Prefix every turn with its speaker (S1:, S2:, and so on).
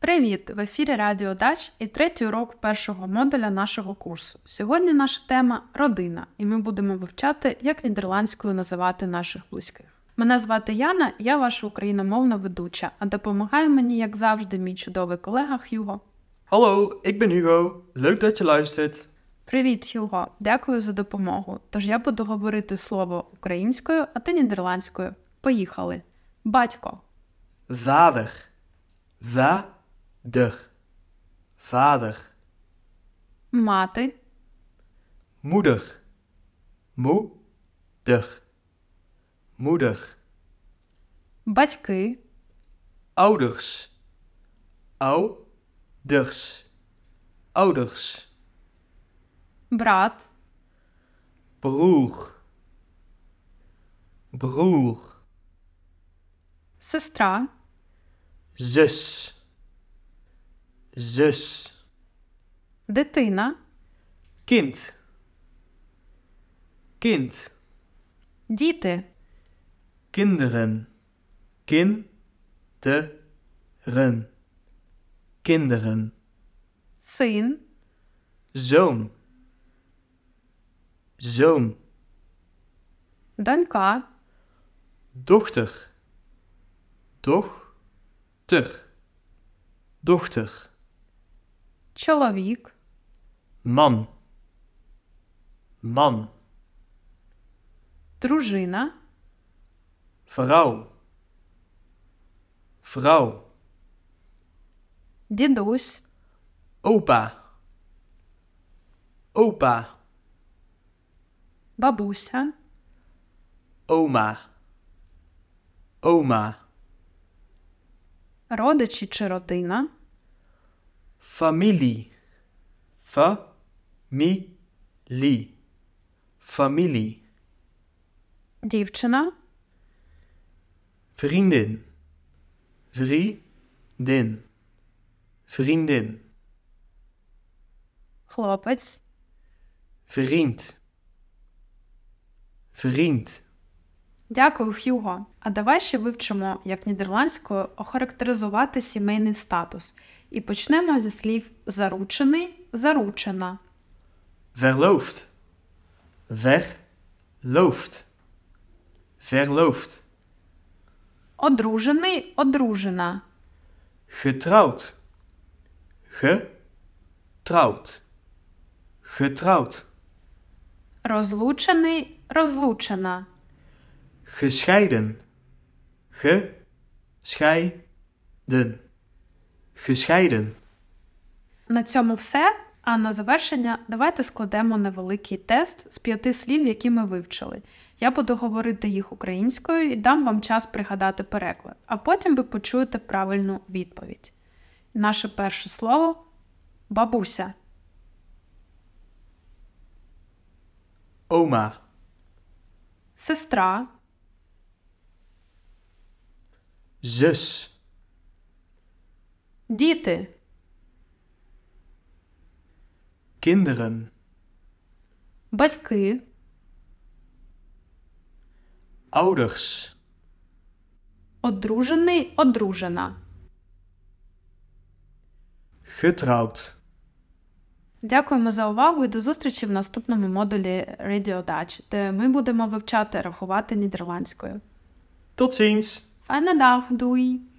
S1: Привіт! В ефірі Радіо Дач і третій урок першого модуля нашого курсу. Сьогодні наша тема родина, і ми будемо вивчати, як нідерландською називати наших близьких. Мене звати Яна, я ваша україномовна ведуча, а допомагає мені, як завжди, мій чудовий колега Хьюго.
S2: Hallo, ik ben Hugo. Leuk dat je luistert.
S1: Привіт, Хьюго! Дякую за допомогу. Тож я буду говорити слово українською, а ти нідерландською. Поїхали. Батько,
S2: Vader. Va-der. Vader.
S1: мати,
S2: Moeder. Moeder. Moeder.
S1: батьки,
S2: Ouders. Ouders. Ouders.
S1: брат,
S2: Broer. Broer.
S1: сестра,
S2: Zus. Zus.
S1: дитина.
S2: Kind. Kind.
S1: Діти,
S2: Kinderen. Kinderen. Kinderen.
S1: син,
S2: Zoon. Zoon.
S1: донька,
S2: Dochter. Dochter. Dochter.
S1: чоловік,
S2: Man. Man.
S1: дружина,
S2: Vrouw. Vrouw.
S1: дідусь,
S2: Opa. Opa.
S1: бабуся,
S2: Oma. Oma.
S1: родичі чи родина,
S2: Familie. Familie. Familie.
S1: дівчина,
S2: Vriendin. Vriendin. Vriendin.
S1: хлопець,
S2: Vriend. Vriend.
S1: Дякую, Хьюго. А давай ще вивчимо, як нідерландською охарактеризувати сімейний статус. І почнемо зі слів заручений, заручена,
S2: Verloofd. Verloofd. Verloofd.
S1: одружений, одружена,
S2: Getrouwd. Getrouwd. Getrouwd.
S1: розлучений, розлучена,
S2: Gescheiden. Gescheiden. Gescheiden.
S1: На цьому все. А на завершення давайте складемо невеликий тест з п'яти слів, які ми вивчили. Я буду говорити їх українською і дам вам час пригадати переклад, а потім ви почуєте правильну відповідь. Наше перше слово бабуся,
S2: Oma.
S1: сестра,
S2: Zus.
S1: діти,
S2: Kinderen.
S1: батьки,
S2: Ouders.
S1: одружений, одружена.
S2: Getrouwd.
S1: Дякуємо за увагу і до зустрічі в наступному модулі Radio Dutch, де ми будемо вивчати рахувати нідерландською.
S2: Tot ziens.
S1: Fijne dag, doei!